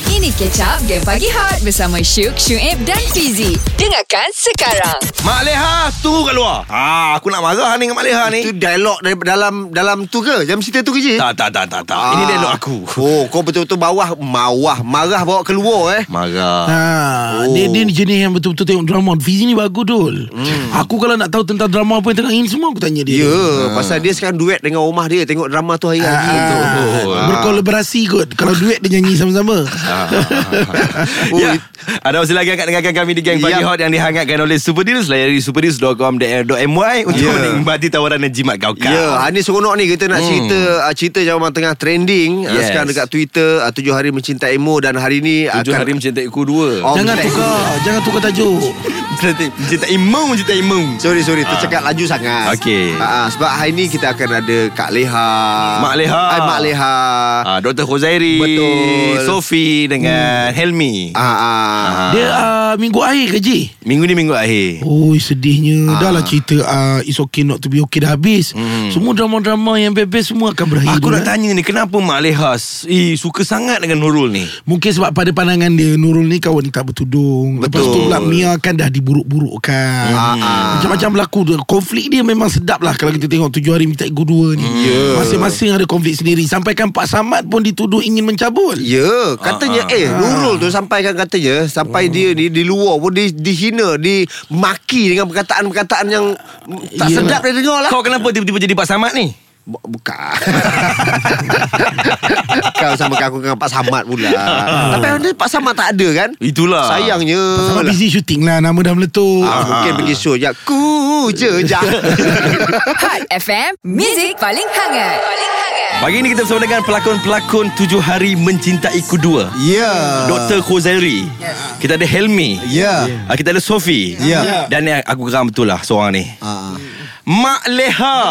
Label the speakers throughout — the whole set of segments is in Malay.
Speaker 1: Ini Catch Up Game Pagi Hot bersama Syuk, Syuib dan Fizi. Dengarkan sekarang.
Speaker 2: Mak Leha tu kat luar. Ha, aku nak marah ni dengan Mak Leha ni.
Speaker 3: Itu dialog dari dalam dalam tu ke? Dalam cerita tu ke je?
Speaker 2: Tak, tak, tak, tak. tak.
Speaker 3: Ah.
Speaker 2: Ini dialog aku.
Speaker 3: Oh, kau betul-betul bawah mawah marah bawa keluar eh.
Speaker 2: Marah.
Speaker 4: Ha,
Speaker 3: Oh.
Speaker 4: oh. dia, dia ni jenis yang betul-betul tengok drama Fizi ni bagus dul hmm. Aku kalau nak tahu tentang drama apa yang tengah ini semua Aku tanya
Speaker 3: Ya,
Speaker 4: dia
Speaker 3: yeah, pasal dia sekarang duet dengan rumah Ah, dia tengok drama tu hari lagi tu.
Speaker 4: Ah, berkolaborasi kot Kalau duet dia nyanyi sama-sama
Speaker 3: Ah, Oh,
Speaker 2: Ya.
Speaker 3: it-
Speaker 2: Ada usaha lagi akan dengarkan kami di Gang Pagi
Speaker 3: Ya.
Speaker 2: Hot yang dihangatkan oleh Super Deals. Layari superdeals.com.my untuk
Speaker 3: Ya.
Speaker 2: menikmati tawaran dan jimat kau Hmm.
Speaker 3: Ya, yeah, ni seronok ni kita nak cerita uh, cerita zaman tengah trending yes.
Speaker 2: Yes.
Speaker 3: sekarang dekat Twitter uh, 7 hari mencintaimu dan hari ni ah,
Speaker 2: Tujuh hari mencintaiku
Speaker 3: kan.
Speaker 2: dua.
Speaker 3: Oh,
Speaker 4: Jangan
Speaker 3: mencintai-
Speaker 4: tukar Jangan tukar tajuk
Speaker 2: Mencintai- Mencintaimu, mencintaimu.
Speaker 3: Sorry
Speaker 2: Ah.
Speaker 3: sorry tercakap laju sangat.
Speaker 2: Okey.
Speaker 3: Ah, ah, sebab hari ni kita akan ada Kak Leha.
Speaker 2: Mak Leha.
Speaker 3: Hai Mak Leha.
Speaker 2: Ah, Dr. Khuzairi
Speaker 3: Betul.
Speaker 2: Sofi dengan Helmi
Speaker 3: Ah, ah.
Speaker 4: Dia uh, minggu akhir ke Ji?
Speaker 2: Minggu ni minggu akhir
Speaker 4: Oi sedihnya
Speaker 3: Ah.
Speaker 4: Dah lah cerita uh, It's okay not to be okay dah habis hmm. Semua drama-drama yang bebas semua akan berakhir
Speaker 2: Aku
Speaker 4: dul,
Speaker 2: nak
Speaker 4: eh.
Speaker 2: tanya ni Kenapa Mak Leha s- eh, Suka sangat dengan Nurul ni
Speaker 4: Mungkin sebab pada pandangan dia Nurul ni kawan yang tak bertudung Lepas tu
Speaker 3: Betul.
Speaker 4: pula Mia kan dah diburuk-burukkan
Speaker 3: ah.
Speaker 4: Macam-macam berlaku tu. Konflik dia memang sedap lah Kalau kita tengok tujuh hari minta ego dua ni
Speaker 3: Ya.
Speaker 4: yeah. Masing-masing ada konflik sendiri Sampaikan Pak Samad pun dituduh ingin mencabul
Speaker 3: Ya, katanya
Speaker 2: Ah,
Speaker 5: Ah,
Speaker 3: eh Nurul tu sampaikan katanya sampai dia ni di luar pun di, dihina, dimaki dengan perkataan-perkataan yang tak
Speaker 4: Ya.
Speaker 3: sedap dia dengar lah.
Speaker 2: Kau kenapa tiba-tiba jadi Pak Samad ni
Speaker 3: Bu- Bukan. Kau sama aku dengan Pak Samad pula. Tapi hari ni Pak Samad tak ada kan?
Speaker 2: Ah. Itulah
Speaker 3: Sayangnya.
Speaker 4: Pak Samad busy syuting lah Nama dah meletup
Speaker 3: Ah, mungkin pergi show je. Ku je je.
Speaker 1: Hot FM, Music paling hangat. Paling hangat.
Speaker 2: Pagi ni kita bersama dengan pelakon-pelakon Tujuh Hari Mencintaiku Dua
Speaker 5: Ya.
Speaker 2: Dr. Khuzairi Kita ada Helmi
Speaker 5: Ya.
Speaker 2: Ah, Kita ada Sofi
Speaker 5: Ya.
Speaker 2: Dan ni aku geram betul lah seorang ni
Speaker 5: Ah.
Speaker 2: Mak Leha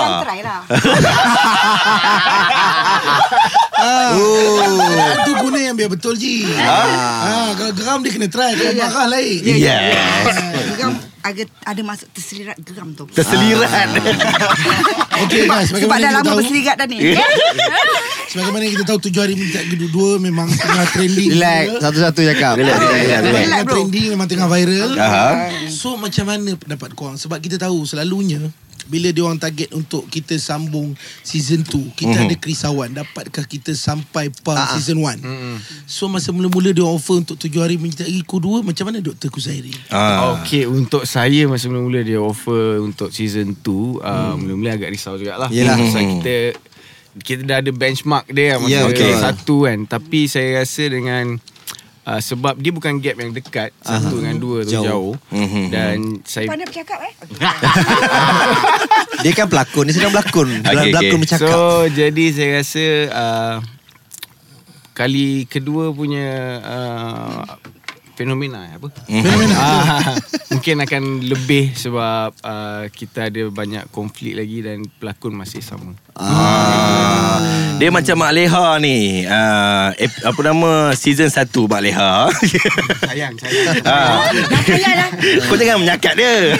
Speaker 4: Ah, Itu guna yang biar betul je ah. ah, Kalau geram dia kena try Kalau marah lain Ah.
Speaker 2: Yes
Speaker 6: Geram agak ada masuk terselirat geram tu. Ah.
Speaker 2: Terselirat
Speaker 4: Okay guys
Speaker 6: Sebab
Speaker 4: bagaimana
Speaker 6: dah
Speaker 4: kita
Speaker 6: lama
Speaker 4: tahu Eh.
Speaker 6: berselirat dah ni.
Speaker 4: Sebagaimana kita tahu tujuh hari minta kedua Memang tengah trending
Speaker 5: Relax
Speaker 4: juga.
Speaker 5: Satu-satu cakap
Speaker 2: Relax, relax, relax.
Speaker 4: Tengah
Speaker 6: Relax, bro.
Speaker 4: trending Memang tengah viral
Speaker 2: Aha.
Speaker 4: So macam mana pendapat korang Sebab kita tahu selalunya Bila dia orang target untuk kita sambung season 2 Kita
Speaker 2: Mhm.
Speaker 4: ada kerisauan Dapatkah kita sampai par
Speaker 6: Ah,
Speaker 4: season 1 So masa mula-mula dia orang offer Untuk tujuh hari mencintai ku dua Macam mana Dr. Kuzairi
Speaker 2: Ah.
Speaker 7: Okay untuk saya masa mula-mula dia offer untuk season 2 uh, mula-mula agak risau jugalah
Speaker 5: Hmm. Yelah. Hmm.
Speaker 7: Pasal kita kita dah ada benchmark dia kan, masa
Speaker 5: Ya,
Speaker 7: yeah,
Speaker 5: betul.
Speaker 7: okay. satu kan tapi saya rasa dengan uh, sebab dia bukan gap yang dekat satu dengan dua tu
Speaker 5: Jauh.
Speaker 7: jauh, jauh.
Speaker 2: Mhm.
Speaker 7: dan saya
Speaker 6: Pandai bercakap eh. Okay.
Speaker 5: Dia kan pelakon Dia sedang berlakon Dalam
Speaker 2: Okey,
Speaker 5: Berlakon
Speaker 2: okey.
Speaker 5: bercakap
Speaker 7: So jadi saya rasa uh, kali kedua punya uh, fenomena eh, apa? Fenomena. Ah, mungkin akan lebih sebab uh, kita ada banyak konflik lagi dan pelakon masih sama.
Speaker 2: Ah. Dia macam Mak Leha ni ah, ep, Apa nama Season 1 Mak Leha
Speaker 7: Sayang, sayang.
Speaker 2: ah.
Speaker 6: Jangan lah.
Speaker 2: Kau jangan menyakat dia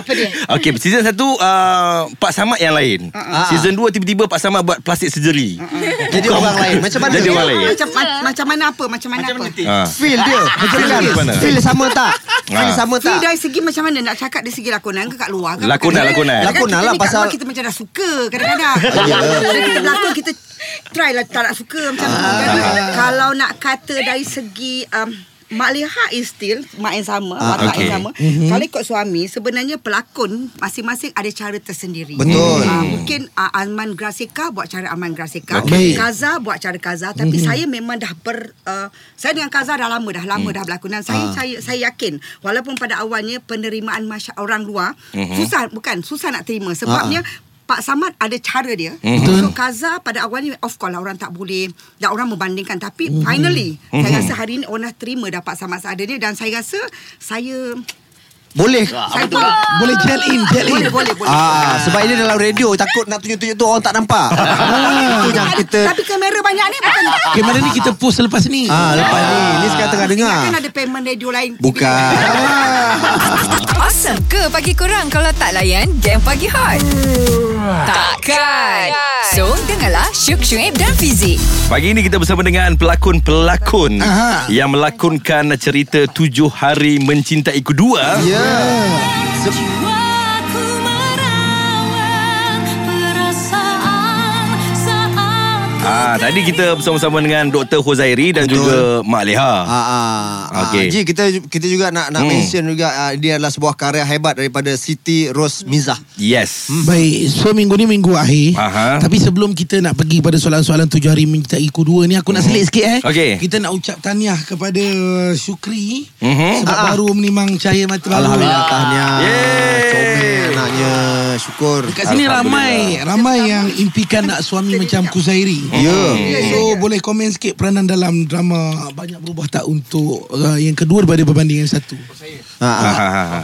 Speaker 2: Apa dia? Okay season 1 uh, Pak Samad yang lain uh-uh. Season 2 tiba-tiba Pak Samad buat plastik surgery uh-uh.
Speaker 3: Jadi orang lain. Macam mana?
Speaker 2: Jadi orang lain
Speaker 6: Macam, ma- macam mana apa? Macam mana macam apa?
Speaker 2: ah.
Speaker 3: Feel dia. Macam
Speaker 2: mana?
Speaker 3: mana? Feel sama tak? Feel
Speaker 2: Ah.
Speaker 3: sama
Speaker 6: Feel
Speaker 3: tak?
Speaker 6: dari segi macam mana nak cakap dari segi lakonan ke kat luar ke?
Speaker 2: Lakonan,
Speaker 6: Bukan.
Speaker 2: lakonan.
Speaker 6: Kadang-kadang kita
Speaker 5: Lakonan lah,
Speaker 6: ni kat luar
Speaker 5: pasal- Ya.
Speaker 6: kita macam dah suka kadang-kadang. Bila kita berlakon kita try lah tak nak suka macam tu.
Speaker 5: Ah.
Speaker 6: Jadi, Kalau nak kata dari segi um, Mak Leha is still Mak yang sama
Speaker 5: Ah,
Speaker 6: Watak
Speaker 2: okay.
Speaker 6: yang sama mm-hmm. Kalau ikut suami Sebenarnya pelakon Masing-masing ada cara tersendiri
Speaker 5: Betul.
Speaker 6: Ah, Mungkin uh, Alman Grasika Buat cara Alman Grasika
Speaker 5: Okey.
Speaker 6: Kaza buat cara Kaza Tapi mm-hmm.
Speaker 5: Mhm.
Speaker 6: saya memang dah ber uh, Saya dengan Kaza dah lama Dah lama mm. dah berlakon Dan saya, saya, saya yakin Walaupun pada awalnya Penerimaan masya- orang luar mm-hmm. Susah Bukan Susah nak terima Sebabnya Pak Samad ada cara dia So Kaza pada awalnya Of course lah orang tak boleh Dan orang membandingkan Tapi finally Saya rasa hari ini Orang dah terima dah Pak Samad seadanya Dan saya rasa Saya
Speaker 5: Boleh
Speaker 6: Saya boleh
Speaker 4: Boleh gel in gel in
Speaker 6: Boleh boleh, boleh.
Speaker 5: Ah, sebab ini dalam radio takut nak tunjuk-tunjuk tu orang tak nampak. Ah, itu yang
Speaker 6: Tapi-
Speaker 5: kita
Speaker 6: Tapi kamera banyak ni bukan
Speaker 4: Okay mana ni kita post selepas ni
Speaker 5: ah lepas ni ni sekarang tengah dengar.
Speaker 6: Ingatkan ada payment radio lain.
Speaker 5: Bukan.
Speaker 1: Awesome ke pagi korang kalau tak layan game pagi hot? Takkan. So, dengarlah Syuk Syuib dan Fizik.
Speaker 2: Pagi ini kita bersama dengan pelakon-pelakon yang melakonkan cerita Tujuh Hari Mencintai Kedua. Ya. Ah, tadi kita bersama-sama dengan Dr. Huzairi dan
Speaker 5: Betul.
Speaker 2: juga Mak Leha.
Speaker 5: Ah, ah,
Speaker 2: Okey.
Speaker 5: okay. ah, Ji, kita kita juga nak
Speaker 2: Hmm.
Speaker 5: nak hmm. mention juga ah, dia adalah sebuah karya hebat daripada Siti Hmm. Rosmizah.
Speaker 2: Yes.
Speaker 4: Baik, so minggu ni minggu akhir
Speaker 2: Mhm. Aha.
Speaker 4: Tapi sebelum kita nak pergi pada soalan-soalan tujuh hari mencintai kedua ni Aku nak selit sikit eh
Speaker 2: Mhm. Okey.
Speaker 4: Kita nak ucap tahniah kepada Syukri
Speaker 2: Mhm.
Speaker 4: Sebab baru menimbang cahaya mata baru
Speaker 5: Alhamdulillah tahniah.
Speaker 2: Yeay.
Speaker 5: Comel anaknya. Syukur.
Speaker 4: Kat sini ramai Ramai yang impikan nak suami macam Kuzairi
Speaker 5: Ya.
Speaker 4: So boleh komen sikit peranan dalam drama Banyak berubah tak untuk uh, yang kedua daripada berbanding yang satu
Speaker 5: Ha,
Speaker 2: Ah,
Speaker 5: ha.
Speaker 2: ah,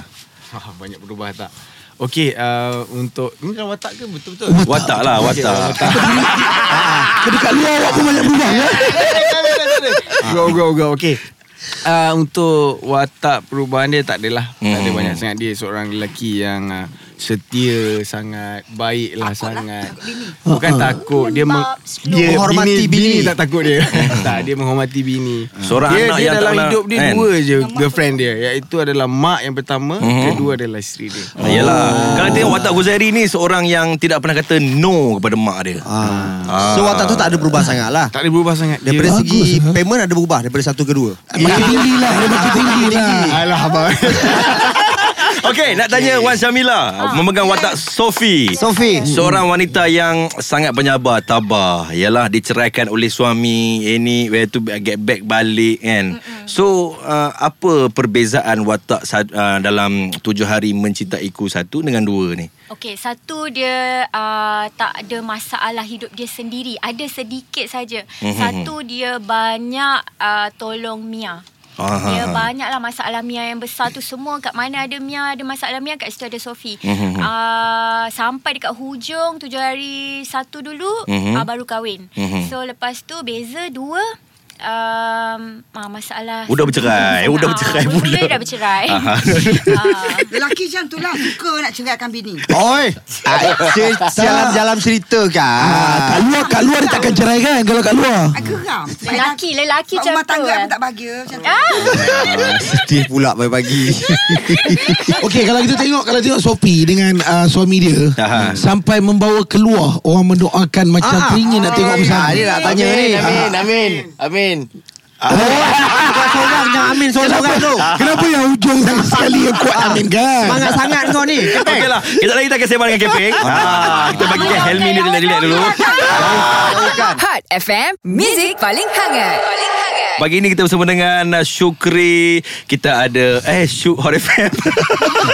Speaker 2: ah.
Speaker 7: Banyak berubah tak? Okey, uh, untuk ni dalam watak ke betul-betul?
Speaker 2: Watak lah,
Speaker 7: Okey,
Speaker 2: watak.
Speaker 4: Kedekat luar awak pun banyak berubah ya?
Speaker 7: Go go go Okay Uh, Ah. untuk watak perubahan dia tak adalah hmm. Tak ada banyak sangat Dia seorang lelaki yang uh, Setia sangat Baik lah sangat Bukan takut Dia meng- Ah.
Speaker 4: Ya,
Speaker 7: dia
Speaker 5: Menghormati
Speaker 7: bini,
Speaker 5: bini.
Speaker 7: tak takut dia Tak dia menghormati bini
Speaker 2: Seorang
Speaker 7: dia,
Speaker 2: anak
Speaker 7: dia
Speaker 2: yang tak
Speaker 7: dalam
Speaker 2: pernah-
Speaker 7: hidup dia
Speaker 2: kan?
Speaker 7: Dua je girlfriend dia Iaitu adalah mak yang pertama Kedua adalah isteri dia
Speaker 2: Mhm. Ah, Yalah.
Speaker 5: Oh.
Speaker 2: Kalau tengok watak Huzairi ni seorang yang tidak pernah kata no kepada mak dia.
Speaker 5: Ah. So watak tu tak ada berubah sangat lah.
Speaker 7: Tak ada berubah sangat dia,
Speaker 5: Daripada
Speaker 4: Bagus,
Speaker 5: segi
Speaker 4: ha?
Speaker 5: payment ada berubah daripada satu ke dua. Ya.
Speaker 4: Makin tinggi lah Dia makin tinggi lah
Speaker 7: Alah abang
Speaker 2: Okey, nak tanya Wan Syamila memegang watak Sophie.
Speaker 4: Hmm.
Speaker 5: Sofi.
Speaker 2: Seorang wanita yang sangat penyabar, tabah. Ialah diceraikan oleh suami, ini where to get back balik kan. So, uh, apa perbezaan watak sa- uh, dalam tujuh hari mencintaiku satu dengan dua ni?
Speaker 8: Okey, satu dia uh, tak ada masalah hidup dia sendiri. Ada sedikit saja.
Speaker 2: Mhm,
Speaker 8: Satu dia banyak uh, tolong Mia.
Speaker 2: Ah.
Speaker 8: Dia banyaklah masalah Mia yang besar tu semua kat mana ada Mia ada masalah Mia kat situ ada Sofi.
Speaker 2: Mhm.
Speaker 8: Uh, sampai dekat hujung tujuh hari satu dulu
Speaker 2: Mhm.
Speaker 8: uh, baru kahwin.
Speaker 2: Mhm.
Speaker 8: So lepas tu beza dua um, ah, masalah
Speaker 2: Udah bercerai, udah bercerai
Speaker 8: Ah,
Speaker 2: pula.
Speaker 8: Mula dah bercerai.
Speaker 2: Ah.
Speaker 8: Ah.
Speaker 6: Lelaki macam tu lah Suka nak ceraikan bini
Speaker 5: Oi. Jalan-jalan cerita kan.
Speaker 4: Ah, Kat luar Kat luar dia takkan cerai kan Kalau kat luar
Speaker 6: Ah, Geram
Speaker 8: Lelaki, lelaki
Speaker 6: Sebab
Speaker 8: macam
Speaker 6: rumah
Speaker 8: tu.
Speaker 6: tangga
Speaker 8: eh.
Speaker 6: pun tak bahagia macam tu.
Speaker 5: Ah, Sedih pula pagi-pagi.
Speaker 4: Okey kalau kita tengok kalau tengok Sophie dengan uh, suami dia
Speaker 2: Aha.
Speaker 4: sampai membawa keluar orang mendoakan macam ah, teringin nak tengok bersama.
Speaker 5: Ah, dia nak tanya ni. Ah.
Speaker 9: Amin, amin, amin. Ah.
Speaker 5: Seorang jangan amin seorang-seorang tu.
Speaker 4: Oh. Kenapa yang hujung sangat sekali yang kuat amin kan?
Speaker 5: Semangat sangat kau ni.
Speaker 2: Okey lah. Kita lagi kita akan sembang dengan Keping. ah, kita bagikan Helmi ni relax-relax dulu.
Speaker 1: Hot FM, Music paling hangat. Paling hangat.
Speaker 2: Pagi ini kita bersama dengan uh, Syukri. Kita ada eh Syuk Hot FM.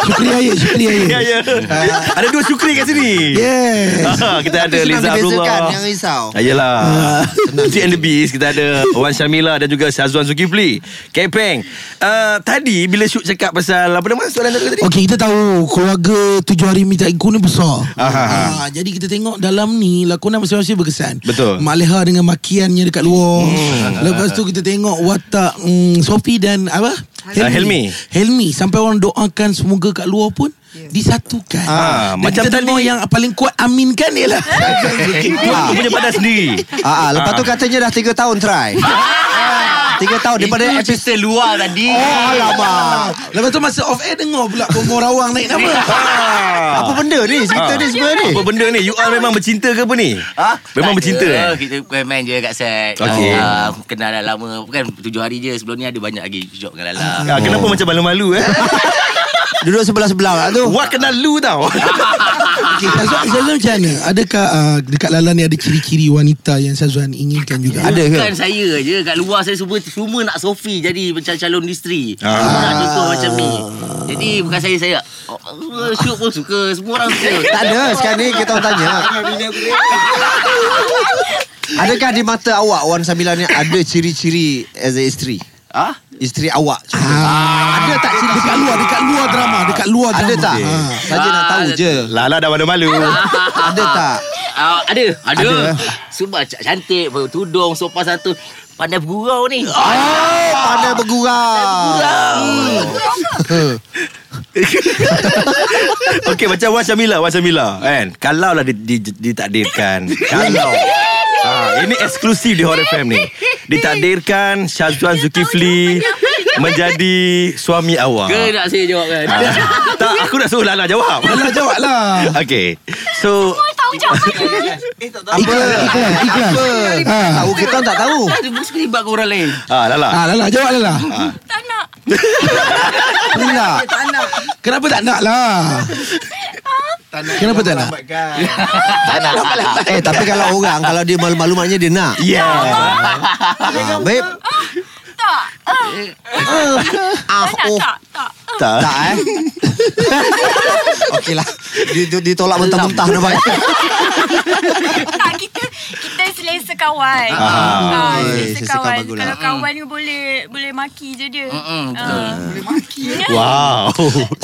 Speaker 4: Syukri ayat, syukri
Speaker 2: ya,
Speaker 4: ayat. Ya.
Speaker 2: ya.
Speaker 5: Ah.
Speaker 2: ada dua Syukri kat sini.
Speaker 4: Yes.
Speaker 2: Ah, kita ada
Speaker 5: Tapi senang
Speaker 2: Liza
Speaker 5: dibezakan,
Speaker 2: Abdullah.
Speaker 5: jangan risau.
Speaker 2: Ayolah. Cik and the Beast kita ada Wan Syamila dan juga Syazwan Zulkifli. Kepeng. Uh, tadi bila Syuk cakap pasal apa nama soalan tadi?
Speaker 4: Okey kita tahu keluarga tujuh hari minta iku ni besar.
Speaker 2: Aha.
Speaker 4: Ah, jadi kita tengok dalam ni lakonan masing-masing berkesan.
Speaker 2: Betul.
Speaker 4: Mak Leha dengan makiannya dekat luar. Lepas tu kita tengok watak mm, Sophie dan apa?
Speaker 2: Ah, Helmi.
Speaker 4: Helmi sampai orang doakan semoga kat luar pun disatukan.
Speaker 2: Ah,
Speaker 4: Dan
Speaker 2: macam
Speaker 4: kita tengok
Speaker 2: tadi-
Speaker 4: yang paling kuat amin kan ialah.
Speaker 2: Dia punya padan sendiri.
Speaker 5: Ah, ah, lepas tu katanya dah 3 tahun try. 3 tahun daripada
Speaker 9: Itu
Speaker 5: episode
Speaker 9: cerita luar tadi.
Speaker 5: Oh, alamak.
Speaker 4: Lepas tu masa off air dengar pula Pemor awang naik nama.
Speaker 2: Ah.
Speaker 5: Apa benda ni? Cerita ni semua ni.
Speaker 2: Apa benda ni? You all memang bercinta ke apa ni?
Speaker 9: Ha?
Speaker 2: Ah. Memang
Speaker 9: Tak
Speaker 2: bercinta
Speaker 9: ada.
Speaker 2: eh?
Speaker 9: Kita bukan main je kat set.
Speaker 2: Okey.
Speaker 9: Ah, kenal dah lama. Bukan tujuh hari je. Sebelum ni ada banyak lagi job dengan Lala.
Speaker 2: Ah, kenapa macam malu-malu eh?
Speaker 5: Duduk sebelah-sebelah lah tu.
Speaker 2: Wah kena lu tau.
Speaker 4: Okey, Sazwan, Sazwan macam mana? Adakah uh, dekat Lala ni ada ciri-ciri wanita yang Sazwan inginkan juga?
Speaker 5: Ada ke?
Speaker 9: Bukan saya je Kat luar saya semua Semua nak Sofi Jadi macam calon isteri ah. Semua nak contoh macam ni Jadi bukan saya Saya oh, Semua Syuk pun suka Semua orang suka
Speaker 5: Tak ada. Sekarang ni kita orang tanya. Adakah di mata awak Wan Samila ni ada ciri-ciri as a isteri?
Speaker 9: Ha?
Speaker 5: Isteri awak contoh.
Speaker 4: Ah, ada tak ciri dekat luar dekat luar drama dekat luar drama
Speaker 5: Ah. Ada tak? Ah,
Speaker 4: Ha.
Speaker 5: Saja nak tahu je.
Speaker 2: Lala Lah, dah malu-malu.
Speaker 5: Ada tak? eh?
Speaker 9: Ah, ada Ada, ada. Sebab cantik Tudung Sopan satu Pandai bergurau ni ah.
Speaker 5: pandai bergurau.
Speaker 2: Hmm. Okey macam Wan Syamila Wan Syamila kan Kalau lah di, di, ditakdirkan Kalau ha, Ini eksklusif di Horror FM ni Ditakdirkan Syazwan Zulkifli Menjadi suami awak
Speaker 9: Ke nak saya jawab kan?
Speaker 2: Ah, Tak aku nak suruh Lana jawab
Speaker 4: Alah jawab lah
Speaker 2: Okay So
Speaker 8: Tahu jawapannya.
Speaker 5: Ikhlas, ikhlas, ikhlas. Ha. Tahu kita orang tak tahu.
Speaker 9: Ada bos kelibat ke orang lain.
Speaker 2: ah, Lala
Speaker 4: Ah, lah, lah, jawab lah, lah.
Speaker 2: Ah.
Speaker 8: Tak nak.
Speaker 5: Pula.
Speaker 6: Tak nak
Speaker 4: Kenapa tak nak lah? Kenapa tak nak?
Speaker 2: lah.
Speaker 5: Eh tapi kalau orang kalau dia malu-malu maknanya dia nak.
Speaker 2: Ya. Yeah
Speaker 5: Ha, babe.
Speaker 8: Tak.
Speaker 5: Ah,
Speaker 8: Tak nak.
Speaker 5: oh.
Speaker 8: Tak. Tak.
Speaker 2: Tak
Speaker 5: Tak eh. Okeylah. Dia ditolak mentah-mentah nampaknya.
Speaker 8: tak kita kita selesa kawan. Ah, selesa
Speaker 5: eh,
Speaker 8: kawan.
Speaker 5: selesa kawan bagus lah.
Speaker 8: Kalau kawan ni boleh boleh maki je dia.
Speaker 9: Mm-mm,
Speaker 8: Ah.
Speaker 2: Wow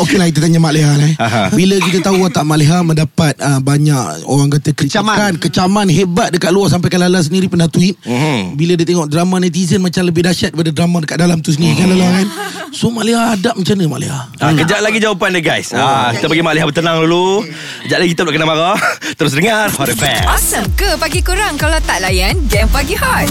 Speaker 4: Okey lah kita tanya Mak Leha lah eh.
Speaker 2: Aha.
Speaker 4: Bila kita tahu watak Mak Leha mendapat uh, banyak orang kata kritikan, kecaman. kecaman hebat dekat luar sampai kan Lala sendiri pernah tweet.
Speaker 2: Mhm.
Speaker 4: Bila dia tengok drama netizen macam lebih dahsyat daripada drama dekat dalam tu sendiri kan Lala kan.
Speaker 2: Hmm.
Speaker 4: So Mak Leha adab macam mana Mak Leha?
Speaker 2: Ah, kejap lagi jawapan dia guys ah, Kita bagi Mak Leah bertenang dulu Kejap lagi kita nak kena marah Terus dengar Horror FM
Speaker 1: Awesome ke pagi korang kalau tak layan game pagi hot?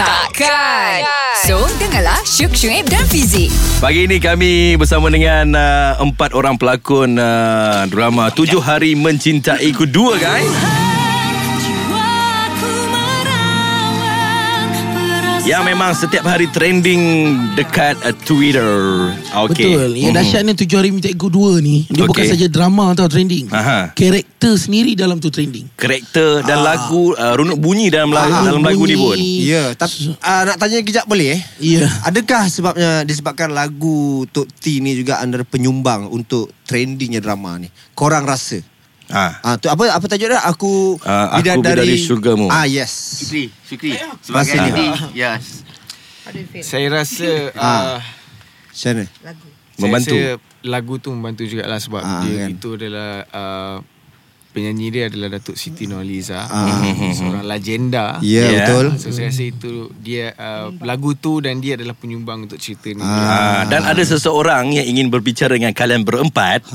Speaker 1: Takkan. So, dengarlah Syuk Syuib dan Fizik.
Speaker 2: Pagi ini kami bersama dengan uh, empat orang pelakon uh, drama Tujuh Hari Mencintai Kedua guys. Yang Ya, memang setiap hari trending dekat uh, Twitter. Mhm. Okay.
Speaker 4: Betul. Yang dahsyat ni tujuh hari minta ego dua ni. Dia
Speaker 2: Hmm. Okey.
Speaker 4: bukan saja drama tau trending.
Speaker 2: Aha.
Speaker 4: Karakter sendiri dalam tu trending.
Speaker 2: Karakter dan lagu uh, runut bunyi dalam
Speaker 4: Ah,
Speaker 2: lagu dalam lagu ni
Speaker 4: bunyi.
Speaker 2: pun.
Speaker 5: Ya, tapi uh, nak tanya kejap boleh eh?
Speaker 4: Ya.
Speaker 5: Adakah sebabnya disebabkan lagu Tok T ni juga antara penyumbang untuk trendingnya drama ni? Korang rasa?
Speaker 2: Ha.
Speaker 5: Ah, tu apa apa tajuk dia? Aku
Speaker 2: Ah, Aku Bidadari Syurgamu.
Speaker 5: Ah, yes.
Speaker 9: Fikri, Fikri.
Speaker 5: Masa
Speaker 9: Sebagai
Speaker 5: ni.
Speaker 9: ni. Yes.
Speaker 7: Saya rasa ah,
Speaker 5: Ah. Macam mana?
Speaker 6: Lagu
Speaker 2: Membantu.
Speaker 7: Saya rasa lagu tu membantu jugalah sebab
Speaker 5: Ah,
Speaker 7: dia
Speaker 5: kan.
Speaker 7: kan. itu adalah uh, penyanyi dia adalah Datuk Siti Nurhaliza.
Speaker 5: Ah.
Speaker 7: Seorang legenda. Ah,
Speaker 5: Ya, yeah,
Speaker 2: Yeah.
Speaker 5: betul.
Speaker 7: So saya rasa itu dia uh, lagu tu dan dia adalah penyumbang untuk cerita ni.
Speaker 2: Ah, dan ada seseorang yang ingin berbicara dengan kalian berempat.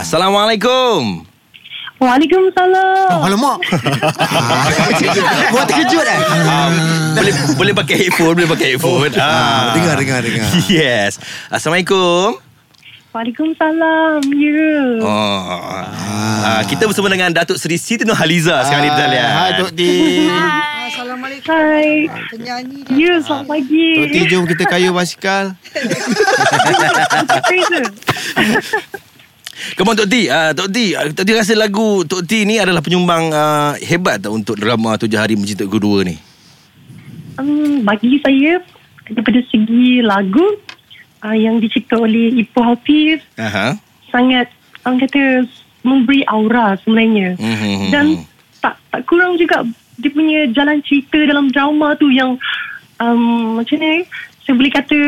Speaker 2: Ah, Assalamualaikum.
Speaker 5: Oh, alamak. Buat terkejut eh. Oh,
Speaker 2: Um, boleh boleh pakai headphone, boleh pakai headphone. Ah.
Speaker 5: dengar, dengar, dengar.
Speaker 2: Yes. Assalamualaikum.
Speaker 10: Waalaikumsalam. Ya. Yeah.
Speaker 2: Oh. Ah. kita bersama dengan Datuk Seri Siti Nurhaliza sekarang ni ya. dalam.
Speaker 7: Ah, Hai Tok Ti.
Speaker 6: Assalamualaikum
Speaker 10: Hai.
Speaker 6: Penyanyi dia
Speaker 10: Ya, yeah, selamat pagi.
Speaker 7: Tok Ti jom kita kayu basikal.
Speaker 10: Apa itu?
Speaker 2: Come on Tok Ti. Ah, Tok Ti, ah, Tok Ti rasa lagu Tok Ti ni adalah penyumbang ah, hebat tak untuk drama Tujuh Hari Mencintai Kedua ni?
Speaker 10: Um, bagi saya, daripada segi lagu uh, yang dicipta oleh Ipoh Hafiz,
Speaker 2: Aha.
Speaker 10: sangat orang kata memberi aura sebenarnya.
Speaker 2: Mhm.
Speaker 10: Dan tak tak kurang juga dia punya jalan cerita dalam drama tu yang um, macam ni saya boleh kata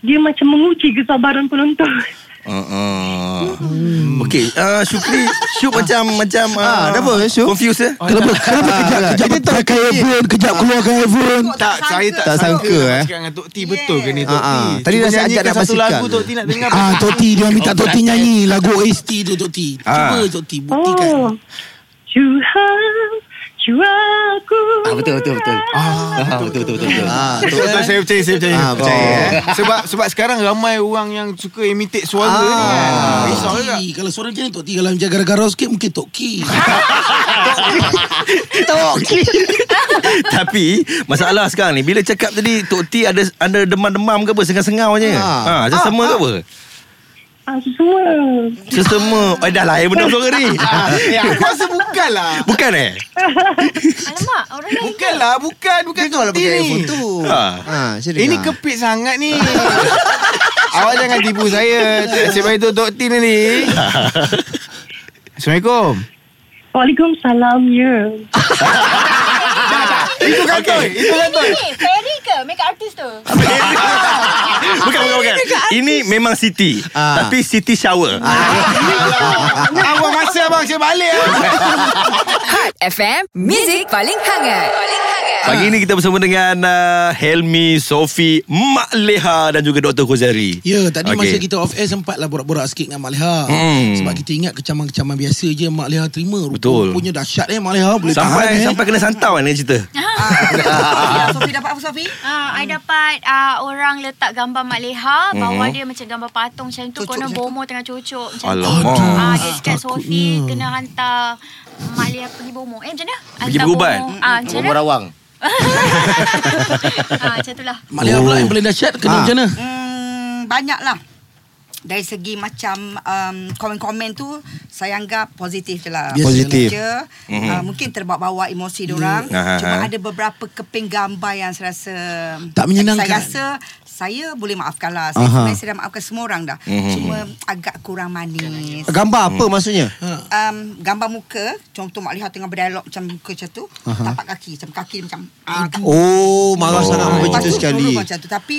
Speaker 10: dia macam menguji kesabaran penonton.
Speaker 2: Uh, uh.
Speaker 4: Hmm.
Speaker 2: Okey, ah, Syukri, Syuk macam macam ah,
Speaker 5: kenapa, Syuk?
Speaker 2: Confused eh?
Speaker 4: Oh, Kenapa
Speaker 5: Ah,
Speaker 4: kenapa kejap kejap pakai earphone, kejap keluarkan earphone.
Speaker 7: Tak, saya tak,
Speaker 5: Tak sangka eh.
Speaker 7: Cakap dengan Tok Ti betul ke ni Tok
Speaker 5: Ah, ah.
Speaker 7: Ti?
Speaker 5: Tadi
Speaker 7: Eh, Cuba
Speaker 5: dah saya ajak
Speaker 7: nyanyikan
Speaker 5: nak
Speaker 7: satu
Speaker 5: basikal.
Speaker 7: lagu Tok Ti nak dengar.
Speaker 4: Ah, Tok T dia minta Tok T nyanyi lagu OST tu Tok T. Cuba Tok T
Speaker 10: Oh,
Speaker 4: buktikan.
Speaker 10: Tuhan, Juaku.
Speaker 9: Ah, betul, betul, betul. Ah, betul, betul, betul. betul.
Speaker 5: Ah,
Speaker 7: Betul, betul, saya percaya, saya percaya.
Speaker 5: Ah,
Speaker 4: oh.
Speaker 5: percaya, eh.
Speaker 7: Sebab sebab sekarang ramai orang yang suka imitate suara
Speaker 5: Ah.
Speaker 7: ni kan. Risau juga.
Speaker 4: Tok T, kalau suara macam ni Tok T kalau macam gara-gara sikit mungkin Tok K.
Speaker 2: Tapi masalah sekarang ni bila cakap tadi Tok T ada ada demam-demam ke apa sengau-sengau je. Ha,
Speaker 5: Ah.
Speaker 2: sesama ke apa?
Speaker 10: Ah, semua.
Speaker 2: Sesama. Eh dah lain benda suara ni.
Speaker 5: Ah,
Speaker 7: Ya, aku rasa bukan lah.
Speaker 2: Bukan eh?
Speaker 8: Alamak, orang lain.
Speaker 7: Bukan lah, bukan. Bukan
Speaker 5: Tengok lah
Speaker 7: Tok Ti
Speaker 5: pakai
Speaker 7: ni.
Speaker 5: handphone tu.
Speaker 2: Ha.
Speaker 5: Ah, saya
Speaker 7: Ini
Speaker 5: dengar.
Speaker 7: kepit sangat ni. Awak jangan tipu saya. Saya bagi tu Tok Ti ni. Assalamualaikum.
Speaker 10: Waalaikumsalam, ya.
Speaker 7: Itu kantoi. Itu kantoi.
Speaker 8: Ni, Ferry ke make up artist tu?
Speaker 2: bukan, bukan, bukan. Ini memang Siti.
Speaker 5: Ah.
Speaker 2: Tapi Siti shower.
Speaker 7: Abang masa abang saya balik. ah.
Speaker 1: Hot FM, music paling hangat. Paling hangat.
Speaker 2: Pagi ini kita bersama dengan uh, Helmi, Sofi, Mak Leha dan juga Dr. Khuzari.
Speaker 4: Ya, tadi okay. masa kita off air sempatlah borak-borak sikit dengan Mak Leha.
Speaker 2: Hmm.
Speaker 4: Sebab kita ingat kecaman-kecaman biasa je Mak Leha terima. Rupa
Speaker 2: Betul.
Speaker 4: punya dahsyat eh Mak Leha boleh tahan
Speaker 2: Sampai
Speaker 4: eh.
Speaker 2: sampai kena santau kan dengan cerita.
Speaker 6: Ah, Sofi dapat apa Sofi?
Speaker 8: Ah, I dapat ah, orang letak gambar Mak Leha Bawah dia macam gambar patung macam tu Konon bomo tengah cocok macam tu
Speaker 2: Alamak.
Speaker 8: ah, Dia cakap Sofi kena hantar Mak Leha pergi bomo Eh macam mana?
Speaker 2: Pergi berubat?
Speaker 8: bomo. Ah, macam
Speaker 9: Orang
Speaker 8: mana?
Speaker 9: Barawang
Speaker 8: ah, macam tu lah
Speaker 4: Mak Leha pula yang
Speaker 2: Oh.
Speaker 4: paling dahsyat
Speaker 6: Ah.
Speaker 4: kena
Speaker 5: Ah.
Speaker 4: macam mana?
Speaker 6: Hmm, banyak lah. Dari segi macam um, komen-komen tu saya anggap positif je lah.
Speaker 4: Biasa
Speaker 5: Positif.
Speaker 6: Je,
Speaker 4: Mhm.
Speaker 6: mm-hmm. uh, mungkin terbawa-bawa emosi yeah. orang.
Speaker 2: Ah,
Speaker 6: Cuma
Speaker 2: ah.
Speaker 6: ada beberapa keping gambar yang saya rasa
Speaker 4: Tak menyenangkan.
Speaker 6: Saya rasa saya boleh maafkan lah. Saya sebenarnya saya dah maafkan semua orang dah.
Speaker 4: Mhm.
Speaker 6: Mm-hmm. Cuma agak kurang manis.
Speaker 5: Gambar apa maksudnya?
Speaker 6: Um, gambar muka contoh mak lihat tengah berdialog macam muka macam tu, uh-huh. tapak kaki macam kaki dia macam ah, kaki
Speaker 5: Oh, marah sangat
Speaker 2: Oh.
Speaker 5: begitu
Speaker 6: Patut
Speaker 5: sekali.
Speaker 6: dulu macam tu Tapi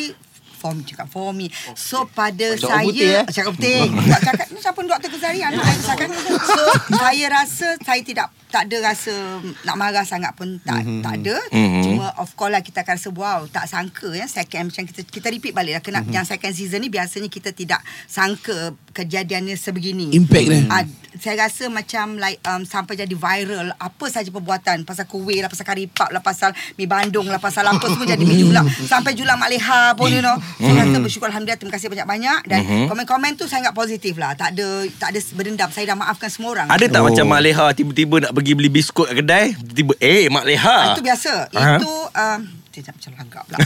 Speaker 6: For me cakap for me So pada
Speaker 9: Cakap
Speaker 6: saya
Speaker 9: orang putih, eh?
Speaker 6: Cakap putih Buat cakap ni Siapa ni Dr. Kezari Anak saya cakap So saya rasa Saya tidak Tak ada rasa Nak marah sangat pun Tak
Speaker 9: Mhm.
Speaker 6: mm-hmm. tak ada mm-hmm. Cuma of course lah Kita akan rasa wow Tak sangka ya Second macam kita Kita repeat balik lah
Speaker 9: Mhm.
Speaker 6: kena, mm-hmm. Yang second season ni Biasanya kita tidak Sangka Kejadiannya sebegini
Speaker 4: Impact dia.
Speaker 6: Ah, saya rasa macam like um, sampai jadi viral apa saja perbuatan pasal kuih lah pasal kari pap lah pasal mi bandung lah pasal apa semua jadi mi julak sampai julak Mak Leha pun you know so
Speaker 2: Hmm.
Speaker 6: rasa bersyukur Alhamdulillah terima kasih banyak-banyak dan komen-komen tu saya ingat positif lah tak ada tak ada berdendam saya dah maafkan semua orang
Speaker 2: Ada tak oh. macam Mak Leha tiba-tiba nak pergi beli biskut kat kedai, tiba-tiba eh Mak Leha.
Speaker 6: Ah, itu biasa
Speaker 2: Ah.
Speaker 6: itu um, Sekejap macam langgar pula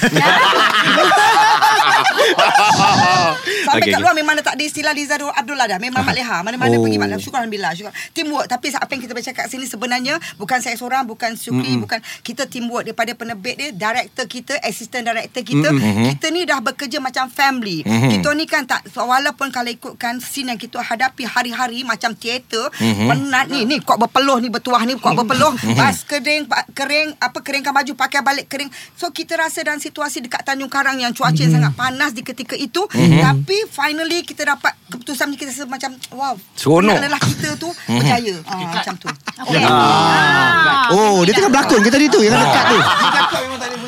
Speaker 6: Sampai
Speaker 2: Okey,
Speaker 6: okay, kat
Speaker 2: okey.
Speaker 6: luar memang dah tak ada istilah Liza Dur- Abdullah dah Memang Mak Leha Mana-mana
Speaker 2: Oh.
Speaker 6: pergi Mak Leha Syukur Alhamdulillah syukur. Teamwork Tapi apa yang kita bercakap sini sebenarnya Bukan saya seorang Bukan Syukri mm Bukan Kita teamwork daripada penerbit dia Director kita Assistant director kita mm Kita ni dah bekerja macam family mm Kita ni kan tak Walaupun kalau ikutkan Scene yang kita hadapi hari-hari Macam teater mm Penat ni Ni kau berpeluh ni Bertuah ni kau berpeluh Bas kering pa- Kering Apa keringkan baju Pakai balik kering So kita rasa dalam situasi Dekat Tanjung Karang Yang cuaca yang sangat panas Di ketika itu Tapi finally Kita dapat Keputusan ni kita rasa macam Wow
Speaker 2: Seronok.
Speaker 6: Adalah kita tu Percaya Ah, Macam tu
Speaker 8: okay. ah.
Speaker 5: Oh, dia tengah berlakon ke tadi tu? Yang dekat
Speaker 7: Ah,
Speaker 5: tu.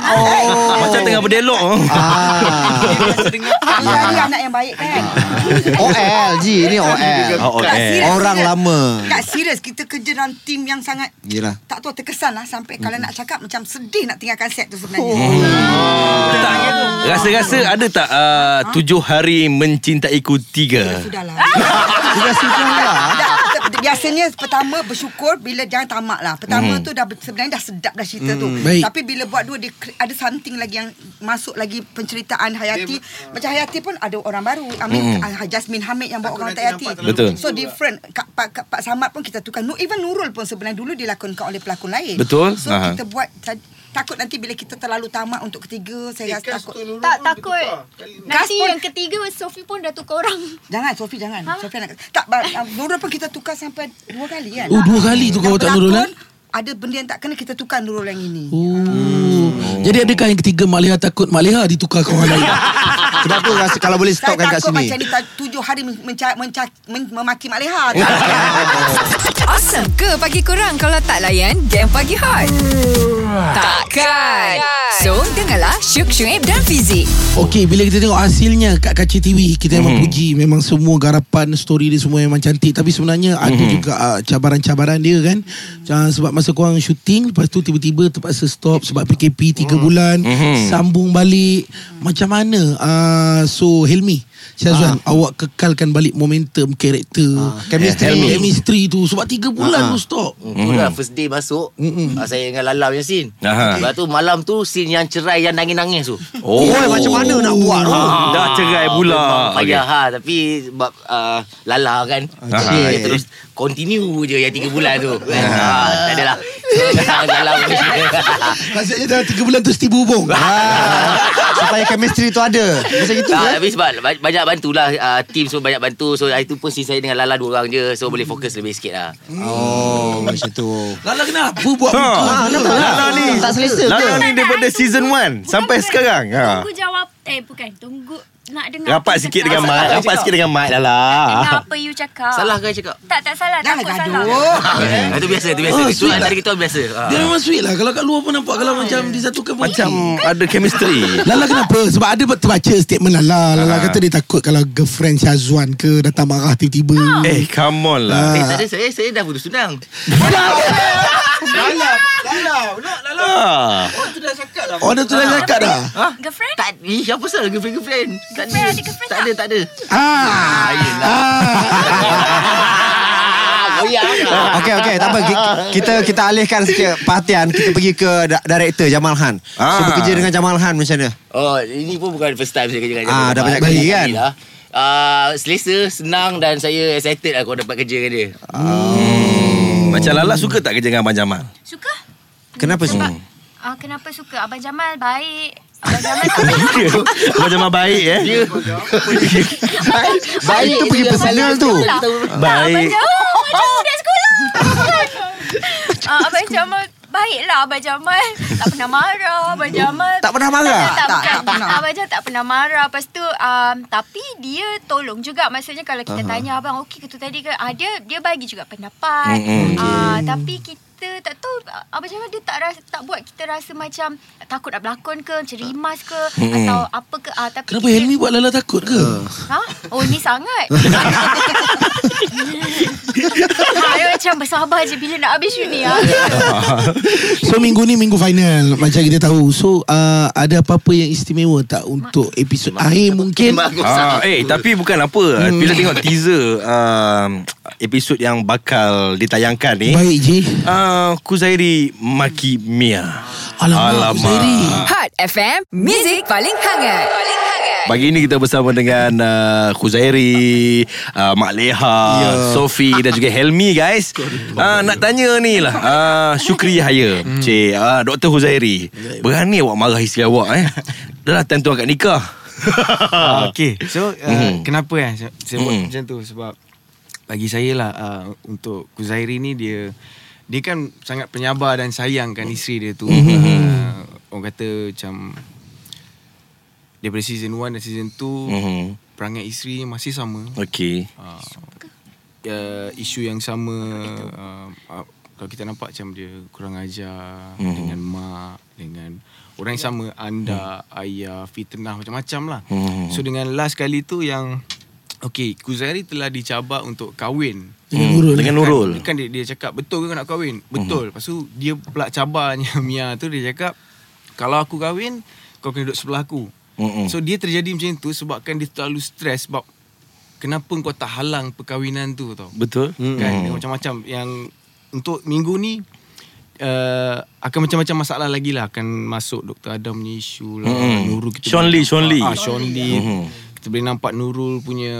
Speaker 2: Oh. Macam tengah berdialog.
Speaker 5: Ah.
Speaker 6: Hari-hari anak yang baik kan
Speaker 5: OL Ji, ni OL.
Speaker 6: Kak,
Speaker 2: Oh, okay.
Speaker 6: serius,
Speaker 5: Orang
Speaker 6: serius.
Speaker 5: lama.
Speaker 6: Kak serius Kita kerja dalam tim yang sangat
Speaker 5: Yelah.
Speaker 6: Tak tahu terkesan lah Sampai kalau nak cakap Macam sedih nak tinggalkan set tu sebenarnya Ah.
Speaker 2: Tak. Rasa-rasa ada tak uh, tujuh hari mencintaiku tiga?
Speaker 6: Sudahlah
Speaker 5: Sudah sudah lah.
Speaker 6: Tak, Biasanya pertama bersyukur bila jangan tamak lah. Pertama tu dah ber- sebenarnya dah sedap dah cerita tu.
Speaker 4: Baik.
Speaker 6: Tapi bila buat dua dia cre- ada something lagi yang masuk lagi penceritaan Hayati. Macam Hayati pun ada orang baru. Amin ah, Jasmine Hamid yang buat orang tak Hayati.
Speaker 2: Betul.
Speaker 6: So different. Kak Pak, Kak, Pak Samad pun kita tukar. Nu- Even Nurul pun sebenarnya dulu dilakonkan oleh pelakon lain.
Speaker 2: Betul.
Speaker 6: So
Speaker 2: Aha.
Speaker 6: kita buat sa- takut nanti bila kita terlalu tamak untuk ketiga saya rasa takut.
Speaker 8: Tak takut
Speaker 6: Kas
Speaker 8: Nanti
Speaker 6: pun-
Speaker 8: yang ketiga Sofi pun dah tukar orang
Speaker 6: Jangan Sofi jangan. Ha? Sofi nak tak ba- ah, Nurul pun kita tukar sampai dua kali kan.
Speaker 4: Oh, dua kali tu kau
Speaker 6: Yang
Speaker 4: tak Nurul kan?
Speaker 5: eh?
Speaker 6: pelakon, Ada benda yang tak kena kita tukar Nurul yang ini.
Speaker 4: Oh. Jadi adakah yang ketiga Mak Leha takut Mak Leha ditukar ke orang lain?
Speaker 5: Kenapa rasa kalau boleh
Speaker 6: Saya
Speaker 5: stopkan kat
Speaker 6: takut
Speaker 5: sini?
Speaker 6: macam ni tak- tujuh hari men- menca- menca- men- memaki Mak Leha. Tak-
Speaker 1: Awesome ke pagi korang kalau tak layan game pagi hot? Takkan. So, dengarlah Syuk Syuib dan Fizik.
Speaker 4: Okey, bila kita tengok hasilnya kat kaca TV, kita memang puji memang semua garapan story dia semua memang cantik tapi sebenarnya ada juga uh, cabaran-cabaran dia kan. Uh, sebab masa korang syuting lepas tu tiba-tiba terpaksa stop sebab PKP 3 bulan, sambung balik. Macam mana? Uh, so Helmi, Syazwan, awak kekalkan balik momentum karakter.
Speaker 5: chemistry.
Speaker 4: Helmi. Ah, chemistry tu sebab 3 bulan tu stop.
Speaker 9: Ah. Tu lah first day masuk mm Saya dengan Lala punya scene
Speaker 2: Aha.
Speaker 9: Lepas tu malam tu Scene yang cerai Yang nangis-nangis tu
Speaker 2: Oh,
Speaker 5: Oi, macam mana nak buat? tu?
Speaker 2: Ah, dah cerai pula.
Speaker 9: Memang
Speaker 2: Okey.
Speaker 9: payah ha, Tapi sebab uh, Lala kan
Speaker 5: Okey.
Speaker 9: Saya terus Continue je Yang tiga bulan tu kan? ha, Tak adalah So, Lala punya scene.
Speaker 4: Maksudnya dalam 3 bulan terus tiba hubung.
Speaker 5: Ah, supaya chemistry tu ada. Macam itu
Speaker 4: ya? eh?
Speaker 9: Tak,
Speaker 5: kan?
Speaker 9: tapi Ah, sebab ba- banyak bantulah uh, Team semua banyak bantu So hari tu pun scene saya dengan Lala dua orang je So boleh fokus lebih sikit lah
Speaker 5: Oh, macam tu.
Speaker 4: Lala kenapa buat
Speaker 2: Ha.
Speaker 4: muka?
Speaker 6: Ah,
Speaker 5: Kenapa lah? Tak selesa ke?
Speaker 2: Lala ni daripada season 1 sampai sekarang. Ha.
Speaker 8: Tunggu jawab Eh bukan Tunggu nak dengar apa
Speaker 2: Rapat sikit
Speaker 8: cakap.
Speaker 2: dengan mic Rapat sikit dengan mic dah lah
Speaker 8: Dengar apa you cakap
Speaker 9: Salah ke I cakap?
Speaker 8: Tak tak salah
Speaker 6: Dah
Speaker 8: Takut
Speaker 6: gaduh.
Speaker 8: salah
Speaker 9: Ah, Itu biasa, itu biasa.
Speaker 4: Oh,
Speaker 9: Itu
Speaker 4: sweet lah.
Speaker 9: antara kita orang biasa. Ah.
Speaker 4: Dia memang sweet lah Kalau kat luar pun nampak Kalau
Speaker 6: Ah, ya.
Speaker 4: macam disatukan pun
Speaker 2: Macam
Speaker 4: okey.
Speaker 2: ada chemistry
Speaker 4: Lala kenapa? Sebab ada terbaca statement Lala. Lala
Speaker 2: Ah.
Speaker 4: kata dia takut kalau girlfriend Syazwan ke datang marah tiba-tiba.
Speaker 2: Eh come on lah
Speaker 9: Eh,
Speaker 5: Ah.
Speaker 4: Ah.
Speaker 9: tak ada, saya saya dah putus tunang.
Speaker 4: Lala.
Speaker 2: Ah.
Speaker 9: Tu dah cakap dah.
Speaker 4: Oh, dia tu dah cakap dah.
Speaker 9: Ha?
Speaker 8: Girlfriend?
Speaker 9: Tak, eh, apa pasal girlfriend-girlfriend? Tak
Speaker 8: Girlfriend, ada girlfriend
Speaker 9: Tak ada, tak ada.
Speaker 4: Ah.
Speaker 5: Oh,
Speaker 9: Ah,
Speaker 5: ya,
Speaker 9: goyang.
Speaker 5: Okey okey tak apa Ki- kita kita alihkan sikit perhatian kita pergi ke da- director Jamal Han. So
Speaker 2: Ah.
Speaker 5: bekerja dengan Jamal Han macam mana?
Speaker 9: Oh, ini pun bukan first time saya kerja dengan
Speaker 5: Ah, dah banyak kali kan?
Speaker 9: Lah. Uh, selesa, senang dan saya excited lah kalau dapat kerja dengan dia.
Speaker 5: Ah.
Speaker 9: Hmm.
Speaker 2: Macam Lala suka tak kerja dengan Abang Jamal?
Speaker 8: Suka?
Speaker 5: Kenapa sih?
Speaker 8: Sebab, ah, kenapa suka? Abang Jamal baik. Abang Jamal tak
Speaker 2: Ya. Abang Jamal baik eh
Speaker 9: Dia
Speaker 5: Baik tu pergi personal tu.
Speaker 8: Abang
Speaker 2: Baik
Speaker 8: Jamal Oh, macam budak sekolah. Ah, Abang Jamal baiklah Abang Jamal. Tak pernah marah Abang Jamal.
Speaker 5: Tak pernah marah?
Speaker 8: Tak, tak,
Speaker 6: Tak, tak
Speaker 8: pernah.
Speaker 6: pernah.
Speaker 8: Abang Jamal tak pernah marah. Lepas tu um, tapi dia tolong juga maksudnya kalau kita uh-huh. tanya abang okey ke tu tadi ke ah, dia dia bagi juga pendapat.
Speaker 5: Mm,
Speaker 2: Mm-mm.
Speaker 8: Ah, tapi kita tak tahu ah, Abang Jamal dia tak rasa, tak buat kita rasa macam takut nak berlakon ke,
Speaker 5: Ah.
Speaker 8: macam rimas ke
Speaker 5: Mm,
Speaker 8: atau apa ke ah, tapi
Speaker 4: Kenapa
Speaker 8: kita-
Speaker 4: Helmi buat Lala takut ke?
Speaker 9: Ah.
Speaker 8: Ha? Oh ni sangat Saya macam bersabar je Bila nak habis shoot ni ha?
Speaker 2: Ah,
Speaker 4: So minggu ni minggu final Macam kita tahu So uh, ada apa-apa yang istimewa tak Untuk episod akhir mungkin
Speaker 2: Ah, eh tapi bukan apa
Speaker 4: Hmm.
Speaker 2: Bila tengok teaser um, Episod yang bakal ditayangkan ni
Speaker 4: Baik je
Speaker 2: uh, Kuzairi Maki Mia
Speaker 4: Alamak, Kuzairi.
Speaker 1: Hot FM, Music paling hangat. Paling hangat.
Speaker 2: Pagi ini kita bersama dengan uh, Khuzairi, uh, Mak Leha,
Speaker 5: Ya.
Speaker 2: yeah. Sofi dan juga Helmi guys. Uh, nak tanya ni lah, uh, Syukri Yahya, hmm. Cik, uh, Dr. Khuzairi.
Speaker 5: Ya,
Speaker 2: Berani awak marah isteri awak eh. Dah lah time tu akad nikah.
Speaker 7: Ah, okay So uh,
Speaker 2: Mm.
Speaker 7: mm. Kenapa eh Saya, saya buat
Speaker 2: Mm.
Speaker 7: macam tu Sebab Bagi saya lah uh, Untuk Kuzairi ni dia Dia kan sangat penyabar Dan sayangkan isteri dia tu
Speaker 2: Mhm.
Speaker 7: uh, Orang kata macam Daripada season 1 dan season 2
Speaker 2: Mhm.
Speaker 7: Perangai isteri masih sama
Speaker 2: Okey.
Speaker 5: Ah.
Speaker 7: uh, uh, Isu yang sama uh, uh, Kalau kita nampak macam dia Kurang ajar
Speaker 2: Mhm.
Speaker 7: Dengan mak Dengan Orang yang sama Anda Ayah Fitnah Macam-macam lah
Speaker 2: Mhm.
Speaker 7: So dengan last kali tu yang Okay Kuzairi telah dicabar untuk kahwin
Speaker 4: Dengan Hmm. Nurul. eh?
Speaker 2: Dengan Nurul. Mhm.
Speaker 7: Kan, kan dia, dia cakap Betul ke kau nak kahwin? Betul Lepas tu dia pula cabarnya Mia tu dia cakap Kalau aku kahwin Kau kena duduk sebelah aku
Speaker 2: Mm-mm.
Speaker 7: So dia terjadi macam tu Sebabkan dia terlalu stres Sebab Kenapa kau tak halang perkahwinan tu tau
Speaker 2: Betul? Mhm.
Speaker 7: kan dia macam-macam yang untuk minggu ni uh, akan macam-macam masalah lagi lah akan masuk Dr Adam punya isu lah
Speaker 2: Mm-mm.
Speaker 7: Nurul kita
Speaker 2: Mhm. Sean
Speaker 7: boleh
Speaker 2: Lee,
Speaker 7: nampak-
Speaker 2: Sean Lee. Mhm.
Speaker 7: ah, Sean Lee
Speaker 4: Mm-hmm.
Speaker 2: Mm-mm.
Speaker 7: kita boleh nampak Nurul punya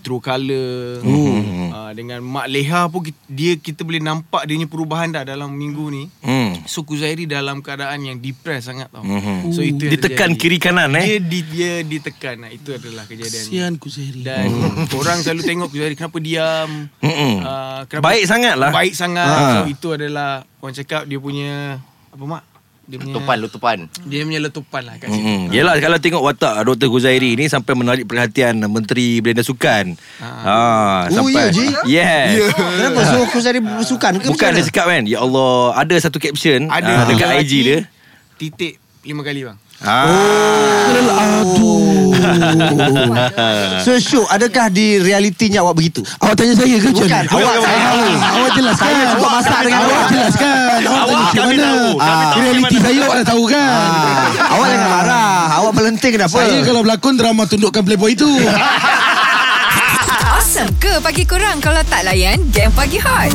Speaker 7: true colour
Speaker 2: Mm-mm.
Speaker 7: Ah, dengan Mak Leha pun ki- dia kita boleh nampak dia punya perubahan dah dalam minggu ni
Speaker 2: Hmm.
Speaker 7: So Kuzairi dalam keadaan yang depressed sangat tau
Speaker 2: Mhm.
Speaker 7: So itu yang
Speaker 2: Ditekan
Speaker 7: terjadi.
Speaker 2: kiri kanan
Speaker 7: dia,
Speaker 2: eh.
Speaker 7: di, dia ditekan Itu adalah kejadian
Speaker 4: Kesian Kuzairi
Speaker 7: dan
Speaker 2: Hmm.
Speaker 7: orang selalu tengok Zahari kenapa diam.
Speaker 2: Mm-mm.
Speaker 7: Ah,
Speaker 2: Hmm. Baik sangat lah.
Speaker 7: Baik sangat.
Speaker 2: Ah.
Speaker 7: So itu adalah orang cakap dia punya apa mak? Dia punya
Speaker 9: Tupan, lutupan.
Speaker 7: Dia punya letupan lah kat situ.
Speaker 5: Ah.
Speaker 2: Mm-mm. Mhm. Yelah kalau tengok watak Dr. Kuzairi ni sampai menarik perhatian Menteri Belia dan Sukan. Ha,
Speaker 5: Oh,
Speaker 2: sampai.
Speaker 5: ya, Ji?
Speaker 2: Yes. Ah.
Speaker 5: Yeah. Kenapa so Kuzairi bersukan ke?
Speaker 2: Bukan
Speaker 5: macam
Speaker 2: dia
Speaker 5: mana?
Speaker 2: cakap kan Ya Allah Ada satu caption
Speaker 7: Ada
Speaker 2: ah, Dekat
Speaker 7: lelaki
Speaker 2: IG dia Ah.
Speaker 7: Titik lima kali bang.
Speaker 5: So Syuk adakah di realitinya awak begitu?
Speaker 4: Awak tanya saya ke John?
Speaker 5: Bukan, awak saya tahu.
Speaker 4: Awak jelaskan
Speaker 5: Saya cuba masak dengan
Speaker 4: awak
Speaker 5: awak.
Speaker 4: jelaskan Awak tanya macam mana Ah, Realiti saya awak dah tahu kan
Speaker 5: Ah, awak jangan marah. Awak melenting kenapa?
Speaker 4: Saya kalau berlakon drama tundukkan playboy itu
Speaker 1: Awesome ke pagi kurang kalau tak layan game pagi hot?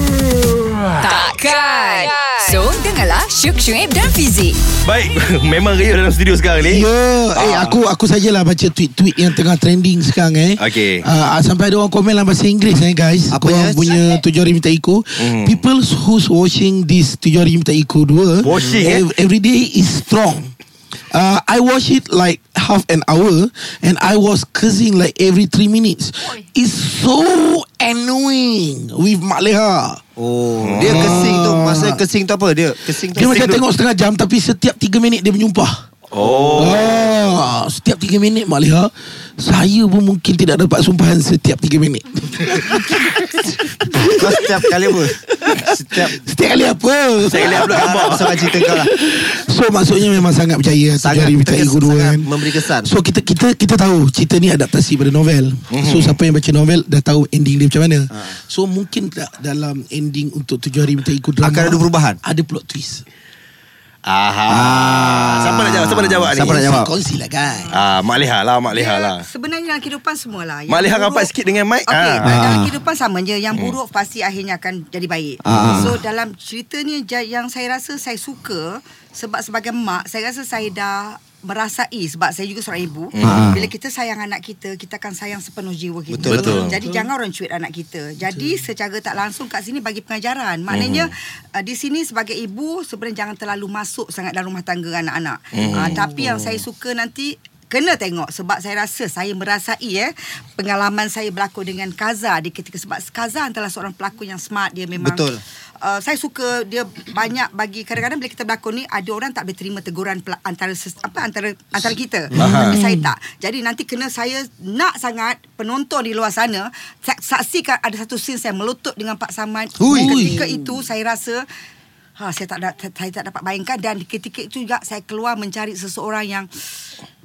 Speaker 1: Takkan. So, dengarlah Syuk Syuib dan Fizik.
Speaker 2: Baik Memang raya dalam studio sekarang ni Ah,
Speaker 4: Ya Eh aku aku sajalah baca tweet-tweet Yang tengah trending sekarang eh
Speaker 2: Okey.
Speaker 4: Ah, Sampai ada orang komen dalam bahasa Inggeris eh guys
Speaker 5: Apa
Speaker 4: Apa Korang
Speaker 5: dia?
Speaker 4: punya tujuh hari minta iko
Speaker 2: Hmm.
Speaker 4: People who's watching this tujuh hari minta iko dua
Speaker 2: Washing, eh?
Speaker 4: ev- Every day is strong Uh, I watch it like half an hour and I was cursing like every three minutes.
Speaker 8: Oi.
Speaker 4: It's so annoying with Mak Leha.
Speaker 5: Oh, dia kesing tu. Masa kesing tu apa dia? Kesing
Speaker 4: Dia
Speaker 5: tu.
Speaker 4: macam tengok setengah jam tapi setiap tiga minit dia menyumpah.
Speaker 2: Oh
Speaker 4: Oh, setiap 3 3 minit Mak Leha Saya pun mungkin tidak dapat sumpahan setiap 3 minit
Speaker 5: Kau setiap kali apa? Setiap
Speaker 4: Setiap kali apa
Speaker 5: Saya lihat pula gambar Pasal cerita kau lah
Speaker 4: So maksudnya memang sangat percaya Sangat Jari Bita
Speaker 5: terkesan,
Speaker 4: Ego dua
Speaker 5: sangat
Speaker 4: kan
Speaker 5: memberi kesan.
Speaker 4: So kita kita kita tahu Cerita ni adaptasi pada novel mm-hmm. So siapa yang baca novel Dah tahu ending dia macam mana
Speaker 5: Ha.
Speaker 4: So mungkin tak dalam ending Untuk tujuh hari Bita Ego drama
Speaker 5: Akan ada perubahan?
Speaker 4: Ada plot twist
Speaker 2: Aha. Siapa nak jawab? Siapa nak jawab ni?
Speaker 5: Siapa nak jawab?
Speaker 4: Kau silakan
Speaker 2: Ah, Mak Leha lah, Mak Leha lah.
Speaker 6: Sebenarnya dalam kehidupan semualah. Yang
Speaker 2: Mak Leha
Speaker 6: buruk-
Speaker 2: rapat sikit dengan mic.
Speaker 6: Ya. Okey,
Speaker 2: Ah. Hmm.
Speaker 6: dalam kehidupan sama je. Yang buruk pasti akhirnya akan jadi baik.
Speaker 2: Ah.
Speaker 6: So dalam cerita ni ja- yang saya rasa saya suka sebab sebagai mak, saya rasa saya dah merasai sebab saya juga seorang ibu
Speaker 2: Hmm. Ah.
Speaker 6: bila kita sayang anak kita kita akan sayang sepenuh jiwa kita
Speaker 2: Betul. Betul.
Speaker 6: jadi jangan orang cuit anak kita jadi secara tak langsung kat sini bagi pengajaran maknanya
Speaker 2: Hmm.
Speaker 6: uh, di sini sebagai ibu sebenarnya jangan terlalu masuk sangat dalam rumah tangga anak-anak
Speaker 2: Hmm.
Speaker 6: uh, tapi yang saya suka nanti kena tengok sebab saya rasa saya merasai eh pengalaman saya berlakon dengan Kaza di ketika sebab Kaza antara seorang pelakon yang smart dia memang
Speaker 5: Betul.
Speaker 6: Uh, saya suka dia banyak bagi kadang-kadang bila kita berlakon ni ada orang tak boleh terima teguran pel- antara ses- apa antara antara kita tapi saya tak jadi nanti kena saya nak sangat penonton di luar sana sa- saksikan ada satu scene saya melutut dengan Pak Samad
Speaker 4: Hui.
Speaker 6: ketika itu saya rasa ha saya tak da- saya tak dapat bayangkan dan ketika itu juga saya keluar mencari seseorang yang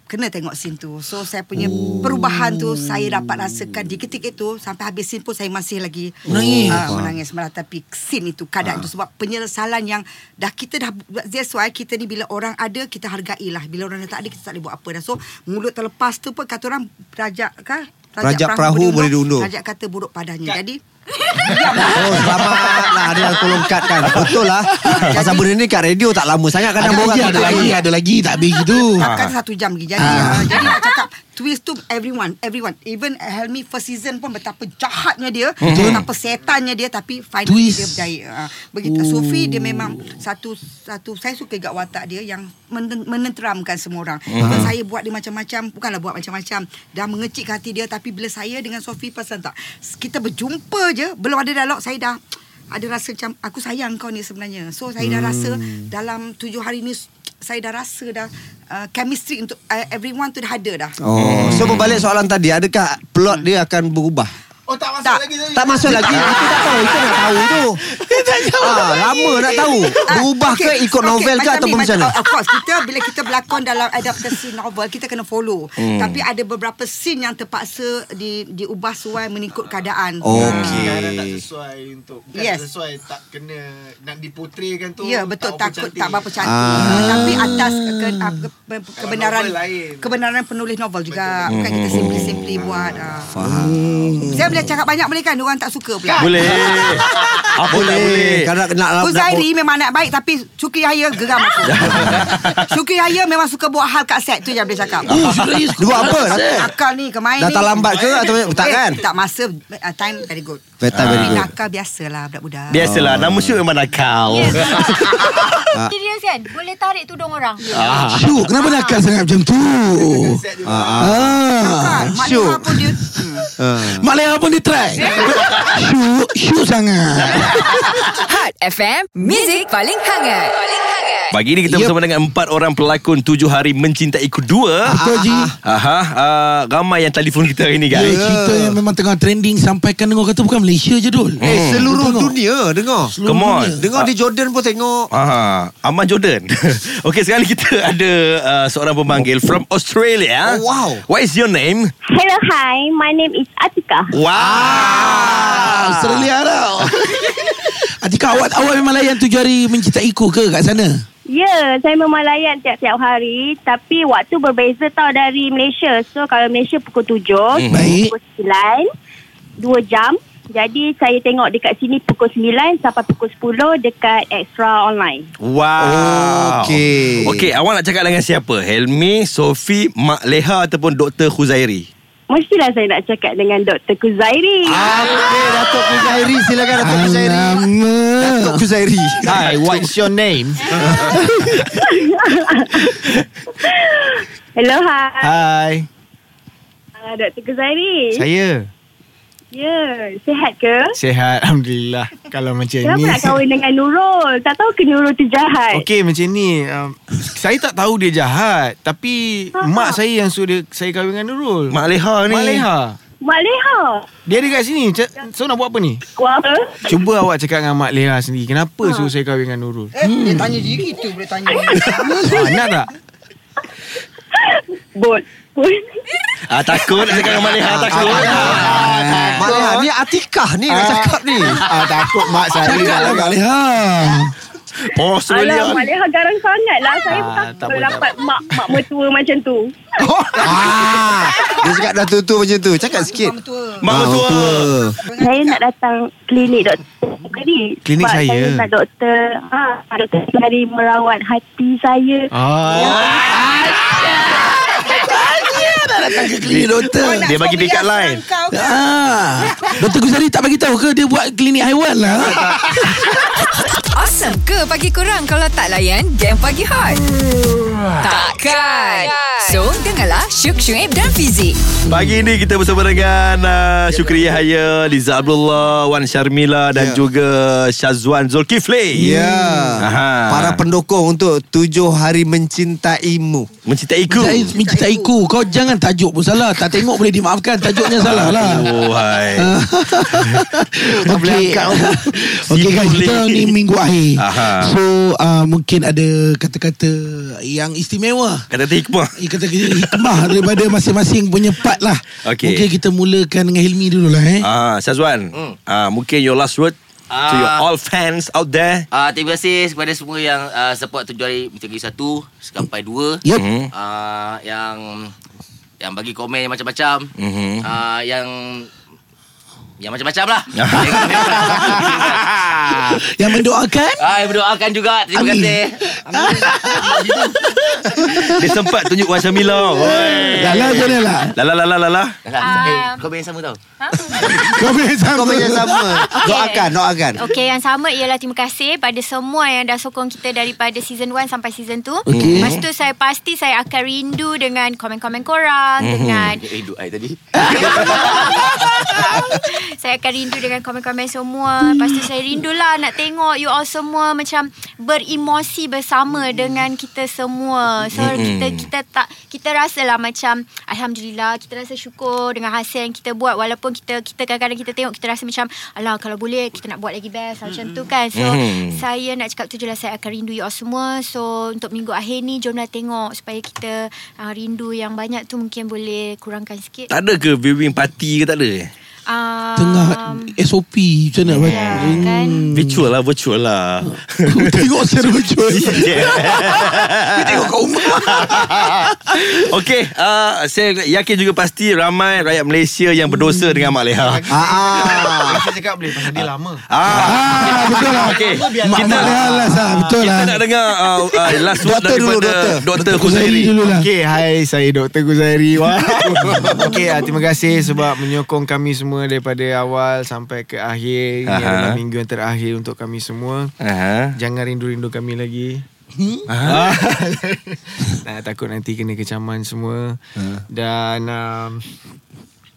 Speaker 6: kena tengok scene tu. So saya punya oh. perubahan tu saya dapat rasakan di ketika itu sampai habis scene pun saya masih lagi menangis, uh, menangis meratapi scene itu
Speaker 5: Ah.
Speaker 6: keadaan tu sebab penyesalan yang dah kita dah that's why kita ni bila orang ada kita hargailah bila orang dah tak ada kita tak boleh buat apa dah. So mulut terlepas tu pun kata orang rajak kah
Speaker 5: Rajak perahu boleh diundur.
Speaker 6: Rajak kata buruk padanya. Jadi
Speaker 5: Oh selamat lah Ada yang tolong cut kan Betul lah Pasal benda ni kat radio tak lama sangat
Speaker 4: Ada
Speaker 5: Kadang
Speaker 4: lagi,
Speaker 5: orang
Speaker 4: ada lagi, ada lagi Tak habis gitu
Speaker 6: Takkan
Speaker 5: Ah.
Speaker 6: satu jam lagi Jadi uh, Jadi nak cakap Twist tu everyone Everyone Even Helmi first season pun Betapa jahatnya dia Betapa setannya dia Tapi finally
Speaker 4: Twist.
Speaker 6: dia berjaya uh, Begitu Sufi dia memang Satu satu Saya suka juga watak dia Yang men- menenteramkan semua orang Kalau Saya buat dia macam-macam Bukanlah buat macam-macam Dah mengecik hati dia Tapi bila saya dengan Sufi Pasal tak Kita berjumpa je Belum ada dialog Saya dah ada rasa macam aku sayang kau ni sebenarnya. So saya dah rasa dalam tujuh hari ni saya dah rasa dah uh, chemistry untuk uh, everyone tu dah ada dah.
Speaker 5: Oh, so berbalik soalan tadi Adakah plot dia akan berubah? Ah.
Speaker 4: Oh tak masuk
Speaker 6: Tak. Ah.
Speaker 4: lagi tadi.
Speaker 5: Tak masuk lagi Itu tak tahu Itu nak tahu tu ah, Lama nak tahu Berubah ke
Speaker 6: Okey,
Speaker 5: ikut novel
Speaker 6: okey,
Speaker 5: ke Ataupun
Speaker 6: ni,
Speaker 5: macam mana
Speaker 6: oh, Of course kita Bila kita berlakon dalam adaptasi novel Kita kena follow hmm. Tapi ada beberapa scene yang terpaksa di, Diubah sesuai mengikut keadaan Ah.
Speaker 5: Okey
Speaker 7: sesuai untuk
Speaker 6: bukan Yes. tak
Speaker 7: Kan sesuai tak kena nak diputrekan
Speaker 6: Ya betul takut tak berapa cantik ah. tapi atas ke, ah, ke, ke, kebenaran
Speaker 7: novel lain.
Speaker 6: kebenaran penulis novel juga bukan
Speaker 5: Hmm,
Speaker 6: kita simply-simply buat ah. Faham. Saya boleh cakap banyak boleh kan orang tak suka pula.
Speaker 2: Boleh. Apa tak boleh?
Speaker 5: Kadang nak Ah, nak-
Speaker 6: Fuzairi memang anak baik tapi Syukri Yahya geram aku. Syukri Yahya memang suka buat hal kat set tu je boleh cakap.
Speaker 4: Oh serius
Speaker 5: Dia buat apa?
Speaker 6: Akal ni kemain ni.
Speaker 5: Datang lambat ke atau tak
Speaker 6: Eh,
Speaker 5: kan?
Speaker 6: Tak masa uh, time very good.
Speaker 5: Betul very
Speaker 6: Tapi
Speaker 5: good.
Speaker 6: nakal biasalah budak-budak.
Speaker 2: Biasalah, nama syuk memang nakal.
Speaker 8: Yes.
Speaker 5: Ah.
Speaker 8: Serius kan? Boleh tarik tudung orang.
Speaker 4: Syuk kenapa nakal sangat macam tu
Speaker 5: ah.
Speaker 4: Ah.
Speaker 6: Kan, Mak
Speaker 5: Syuk.
Speaker 6: Leha pun dia hmm.
Speaker 5: Ah.
Speaker 4: Mak Leha pun dia try Syuk Syuk sangat
Speaker 1: Hot FM, Music paling hangat. Paling hangat.
Speaker 2: Pagi ni kita yep. bersama dengan empat orang pelakon tujuh hari mencintaiku dua.
Speaker 4: Betul Ji
Speaker 2: Aha, uh, ramai yang telefon kita hari ni
Speaker 4: Ya,
Speaker 2: guys.
Speaker 4: cerita yang memang tengah trending sampaikan dengar kata bukan Malaysia je Dul. Hmm.
Speaker 5: Eh seluruh dunia Dengar
Speaker 4: Seluruh
Speaker 2: Come on. Ah,
Speaker 4: dunia.
Speaker 5: Dengar di Jordan pun tengok
Speaker 2: Aha, Aman Jordan. Okey, sekarang ni kita ada uh, seorang pemanggil from Australia.
Speaker 5: Oh, wow.
Speaker 2: What is your name?
Speaker 10: Hello, hi. My name is Atika.
Speaker 2: Wow.
Speaker 4: Australia tau. Atika Ah, awak awak memang layan tujuh hari mencintaiku ke kat sana?
Speaker 10: Ya, saya memang layan tiap-tiap hari. Tapi waktu berbeza tau dari Malaysia. So, kalau Malaysia pukul 7,
Speaker 4: Mhm. Baik.
Speaker 10: pukul 9, 2 jam. Jadi, saya tengok dekat sini pukul 9 sampai pukul 10 dekat Extra Online.
Speaker 2: Wow.
Speaker 5: Okey.
Speaker 2: Okey, awak nak cakap dengan siapa? Helmi, Sofi, Mak Leha ataupun Dr. Khuzairi?
Speaker 10: Mestilah saya nak cakap dengan Dr. Kuzairi.
Speaker 4: Ah,
Speaker 5: Okey Datuk Kuzairi Silakan Datuk Kuzairi Datuk
Speaker 4: Alamak.
Speaker 5: Kuzairi
Speaker 7: Hi, what's your name?
Speaker 10: Hello, hi.
Speaker 7: Hi.
Speaker 4: Ha.
Speaker 10: Uh, Dr. Kuzairi.
Speaker 7: Saya.
Speaker 10: Ya, sihat ke?
Speaker 7: Sehat Alhamdulillah Kalau macam
Speaker 10: Kenapa
Speaker 7: ni
Speaker 10: nak kahwin dengan Nurul? Tak tahu ke Nurul tu jahat?
Speaker 7: Okey macam ni um, Saya tak tahu dia jahat Tapi
Speaker 10: Ha,
Speaker 7: Mak saya yang suruh saya kahwin dengan Nurul
Speaker 2: Mak Leha ni.
Speaker 7: Mak Leha
Speaker 10: Mak Leha.
Speaker 7: Dia ada kat sini Ca- So nak buat apa ni?
Speaker 10: Wah, apa?
Speaker 7: Cuba awak cakap dengan Mak Leha sendiri Kenapa
Speaker 10: Ha.
Speaker 7: suruh saya kahwin dengan Nurul?
Speaker 6: Eh, hmm. dia tanya diri tu boleh tanya.
Speaker 7: Ha, nak tak?
Speaker 10: bot.
Speaker 2: Ah, takut nak cakap dengan Mak Leha takut.
Speaker 5: Ah, Mak Leha ni Atikah ni nak cakap ni.
Speaker 7: Ah, takut mak saya
Speaker 5: Cakap lah. Ha. Mak Leha.
Speaker 10: Alah,
Speaker 2: Oh,
Speaker 10: Mak
Speaker 2: Australia.
Speaker 10: Leha garang sangat lah. Saya
Speaker 7: Ah,
Speaker 10: tak
Speaker 7: tak
Speaker 10: boleh
Speaker 7: boleh,
Speaker 10: dapat mak, mak mertua macam tu.
Speaker 5: Ah, Dia cakap dah tua-tua macam tu. Cakap sikit. Ah,
Speaker 6: Orang tua.
Speaker 2: Mak mertua.
Speaker 10: Saya nak datang klinik doktor tadi.
Speaker 7: Klinik
Speaker 10: Sebab
Speaker 7: saya.
Speaker 10: saya nak doktor. Ha, doktor sehari merawat hati saya. Ya.
Speaker 7: Ah,
Speaker 5: Klinik doktor.
Speaker 2: Dia bagi pick up line.
Speaker 6: Kau
Speaker 11: Ah, Dr. Guzari tak bagi tahu ke dia buat klinik haiwan lah?
Speaker 1: Awesome ke pagi korang kalau tak layan game pagi hot? Takkan. So, dengarlah Syuk Syuib dan Fizik.
Speaker 2: Pagi ini kita bersama dengan
Speaker 5: Ya,
Speaker 2: uh, Syukri Yahya, Liza Abdullah, Wan Syarmila dan
Speaker 5: Ya.
Speaker 2: juga Syazwan Zulkifli.
Speaker 5: Ya.
Speaker 2: Aha.
Speaker 5: Para pendukung untuk tujuh hari mencintaimu.
Speaker 2: Mencintaiku.
Speaker 11: Saya mencintaiku. Kau jangan tajuk pun salah. Tak tengok boleh dimaafkan. Tajuknya salah lah.
Speaker 2: Oh, hai.
Speaker 5: Tak
Speaker 11: Okey.
Speaker 5: boleh angkat pun.
Speaker 11: Okey
Speaker 2: Sibuk
Speaker 11: guys, kita
Speaker 2: boleh.
Speaker 11: ni minggu akhir.
Speaker 2: Aha.
Speaker 11: So, uh, mungkin ada kata-kata yang istimewa.
Speaker 2: Kata-kata hikmah.
Speaker 11: Eh, kata-kata hikmah daripada masing-masing punya part lah.
Speaker 2: Okey.
Speaker 11: Mungkin kita mulakan dengan Hilmi dulu lah eh.
Speaker 2: Ah, Syazwan. Ah, mungkin your last word to
Speaker 9: Ah.
Speaker 2: your all fans out there.
Speaker 9: Ah, terima kasih kepada semua yang uh, support tujuh hari Mitagi satu sampai dua.
Speaker 11: Yep.
Speaker 2: Hmm.
Speaker 9: Ah, yang yang bagi komen yang macam-macam.
Speaker 2: Mhm.
Speaker 9: Ah, yang yang macam-macam lah.
Speaker 11: Yang mendoakan.
Speaker 9: ah, yang berdoakan juga. Terima
Speaker 11: Amin.
Speaker 9: kasih.
Speaker 2: Dia sempat tunjuk Wan Syamila. Oi.
Speaker 11: Dah lah, jangan lah.
Speaker 2: La la la la la la.
Speaker 9: Alah, eh, komen yang sama tau.
Speaker 5: Kau macam sama. Doakan, doakan.
Speaker 8: Okey, yang sama ialah terima kasih pada semua yang dah sokong kita daripada season 1 sampai season 2.
Speaker 11: Okey.
Speaker 8: Lepas tu saya pasti saya akan rindu dengan komen-komen korang,
Speaker 5: Mhm.
Speaker 8: mm-hmm. dengan
Speaker 9: Eh, hidup saya tadi.
Speaker 8: saya akan rindu dengan komen-komen semua. Lepas tu saya rindulah nak tengok you all semua macam beremosi bersama dengan kita semua. So mm-hmm. kita kita tak kita rasalah macam alhamdulillah kita rasa syukur dengan hasil yang kita buat walaupun kita kita kadang-kadang kita tengok kita rasa macam alah kalau boleh kita nak buat lagi best mm-hmm. macam tu kan. So
Speaker 2: Mm.
Speaker 8: mm-hmm. saya nak cakap tu je lah saya akan rindu you all semua. So untuk minggu akhir ni jomlah tengok supaya kita uh, rindu yang banyak tu mungkin boleh kurangkan sikit.
Speaker 2: Tak ada ke viewing party ke tak ada?
Speaker 8: Um,
Speaker 11: Tengah SOP macam mana?
Speaker 8: Ya, kan?
Speaker 2: Virtual lah, virtual lah.
Speaker 11: Hmm. Tengok secara virtual.
Speaker 2: Tengok kat rumah Okay uh, Saya yakin juga pasti Ramai rakyat Malaysia Yang berdosa
Speaker 11: Hmm.
Speaker 2: dengan Mak Leha
Speaker 5: Ah, ah.
Speaker 7: saya cakap boleh pasal dia lama.
Speaker 2: Ah, betul lah. Okay.
Speaker 11: Mak
Speaker 2: Kita,
Speaker 11: Mak Leha lah sah. Betul
Speaker 2: Ah, kita
Speaker 11: lah.
Speaker 2: nak dengar uh, uh, last word
Speaker 5: Doktor dulu,
Speaker 2: daripada Doktor
Speaker 11: Kuzairi
Speaker 2: Kuzairi.
Speaker 11: dulu lah.
Speaker 7: Okey, hai saya Dr. Guzairi. Wah. Okey, ah, terima kasih sebab menyokong kami semua daripada awal sampai ke akhir. Ini
Speaker 2: Aha.
Speaker 7: adalah minggu yang terakhir untuk kami semua.
Speaker 2: Aha.
Speaker 7: Jangan rindu-rindu kami lagi. nah, takut nanti kena kecaman semua. Dan um,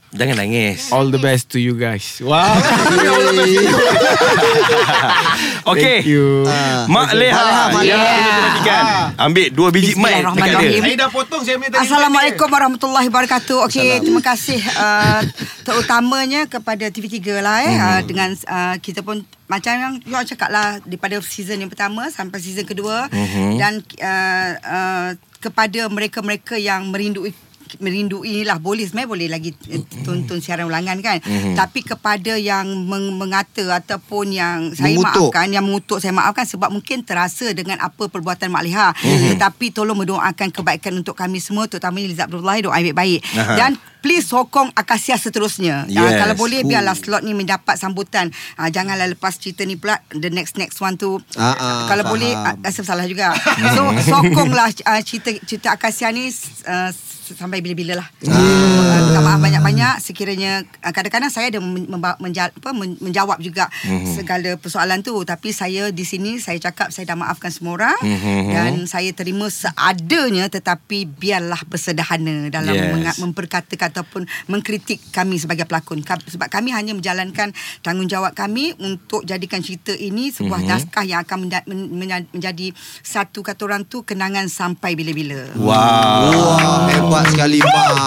Speaker 2: Jangan nangis.
Speaker 7: all the best to you guys. Wow.
Speaker 2: Okay.
Speaker 7: Thank you.
Speaker 2: Mak Leha.
Speaker 5: Mak
Speaker 2: Ya,
Speaker 5: Leha.
Speaker 2: kita perhatikan. Ambil dua biji mic dekat dia.
Speaker 6: Bismillahirrahmanirrahim.
Speaker 7: Saya dah potong saya punya tadi.
Speaker 6: Assalamualaikum warahmatullahi wabarakatuh. Okey, terima kasih uh, terutamanya kepada TV3 lah eh hmm. uh, dengan uh, kita pun macam yang you all cakap lah daripada season yang pertama sampai season kedua hmm. dan uh, uh, kepada mereka-mereka yang merindui merindui lah boleh sebenarnya boleh lagi eh, tonton siaran ulangan kan mm-hmm. tapi kepada yang meng- mengata ataupun yang saya
Speaker 5: Mengutuk.
Speaker 6: maafkan yang mengutuk saya maafkan sebab mungkin terasa dengan apa perbuatan Mak Leha
Speaker 2: Hmm.
Speaker 6: mm-hmm. tetapi tolong mendoakan kebaikan untuk kami semua terutamanya Liza Abdullah doa baik-baik
Speaker 2: Aha.
Speaker 6: dan please sokong Akasia seterusnya Ah,
Speaker 2: Yes.
Speaker 6: kalau boleh biarlah slot ni mendapat sambutan Ah, janganlah lepas cerita ni pula the next next one tu
Speaker 5: Ah, ah,
Speaker 6: kalau
Speaker 5: faham.
Speaker 6: boleh ah, rasa salah juga so sokonglah ah, cerita cerita Akasia ni ah, sampai bila-bila lah.
Speaker 12: Ah.
Speaker 6: Yeah. Minta maaf banyak-banyak sekiranya uh, kadang-kadang saya ada men- memba- menja- apa, men- menjawab juga
Speaker 12: Mhm.
Speaker 6: mm-hmm. segala persoalan tu tapi saya di sini saya cakap saya dah maafkan semua orang
Speaker 12: Mhm.
Speaker 6: mm-hmm. dan saya terima seadanya tetapi biarlah bersederhana dalam
Speaker 12: Yes.
Speaker 6: yes. menga- memperkatakan ataupun mengkritik kami sebagai pelakon Ka- sebab kami hanya menjalankan tanggungjawab kami untuk jadikan cerita ini sebuah
Speaker 2: Mhm.
Speaker 6: mm-hmm. naskah yang akan menda- men- menya- menjadi satu kata orang tu kenangan sampai bila-bila.
Speaker 2: Wow. wow. Hebat sekali Mak.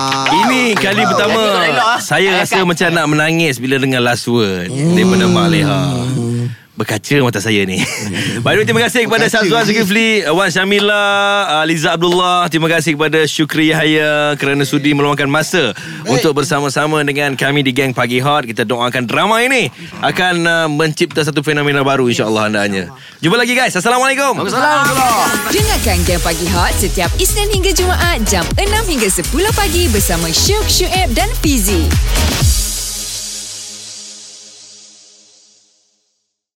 Speaker 2: Ini kali pertama
Speaker 6: Jadi, tak elok, ah.
Speaker 2: saya
Speaker 6: Tak
Speaker 2: rasa macam nak menangis bila dengar last word daripada Mak Leha. Berkaca mata saya ni. Baik, terima kasih kepada
Speaker 5: Berkaca.
Speaker 2: Sazwan Zulkifli, Wan Syamila, ah, Liza Abdullah. Terima kasih kepada Syukri Yahya kerana sudi meluangkan masa untuk bersama-sama dengan kami di Gang Pagi Hot. Kita doakan drama ini akan ah, mencipta satu fenomena baru insya-Allah andaannya. Jumpa lagi guys. Assalamualaikum.
Speaker 1: Dengarkan Game Pagi Hot setiap Isnin hingga Jumaat jam 6 hingga 10 pagi bersama Syuk, Syuib dan Fizi.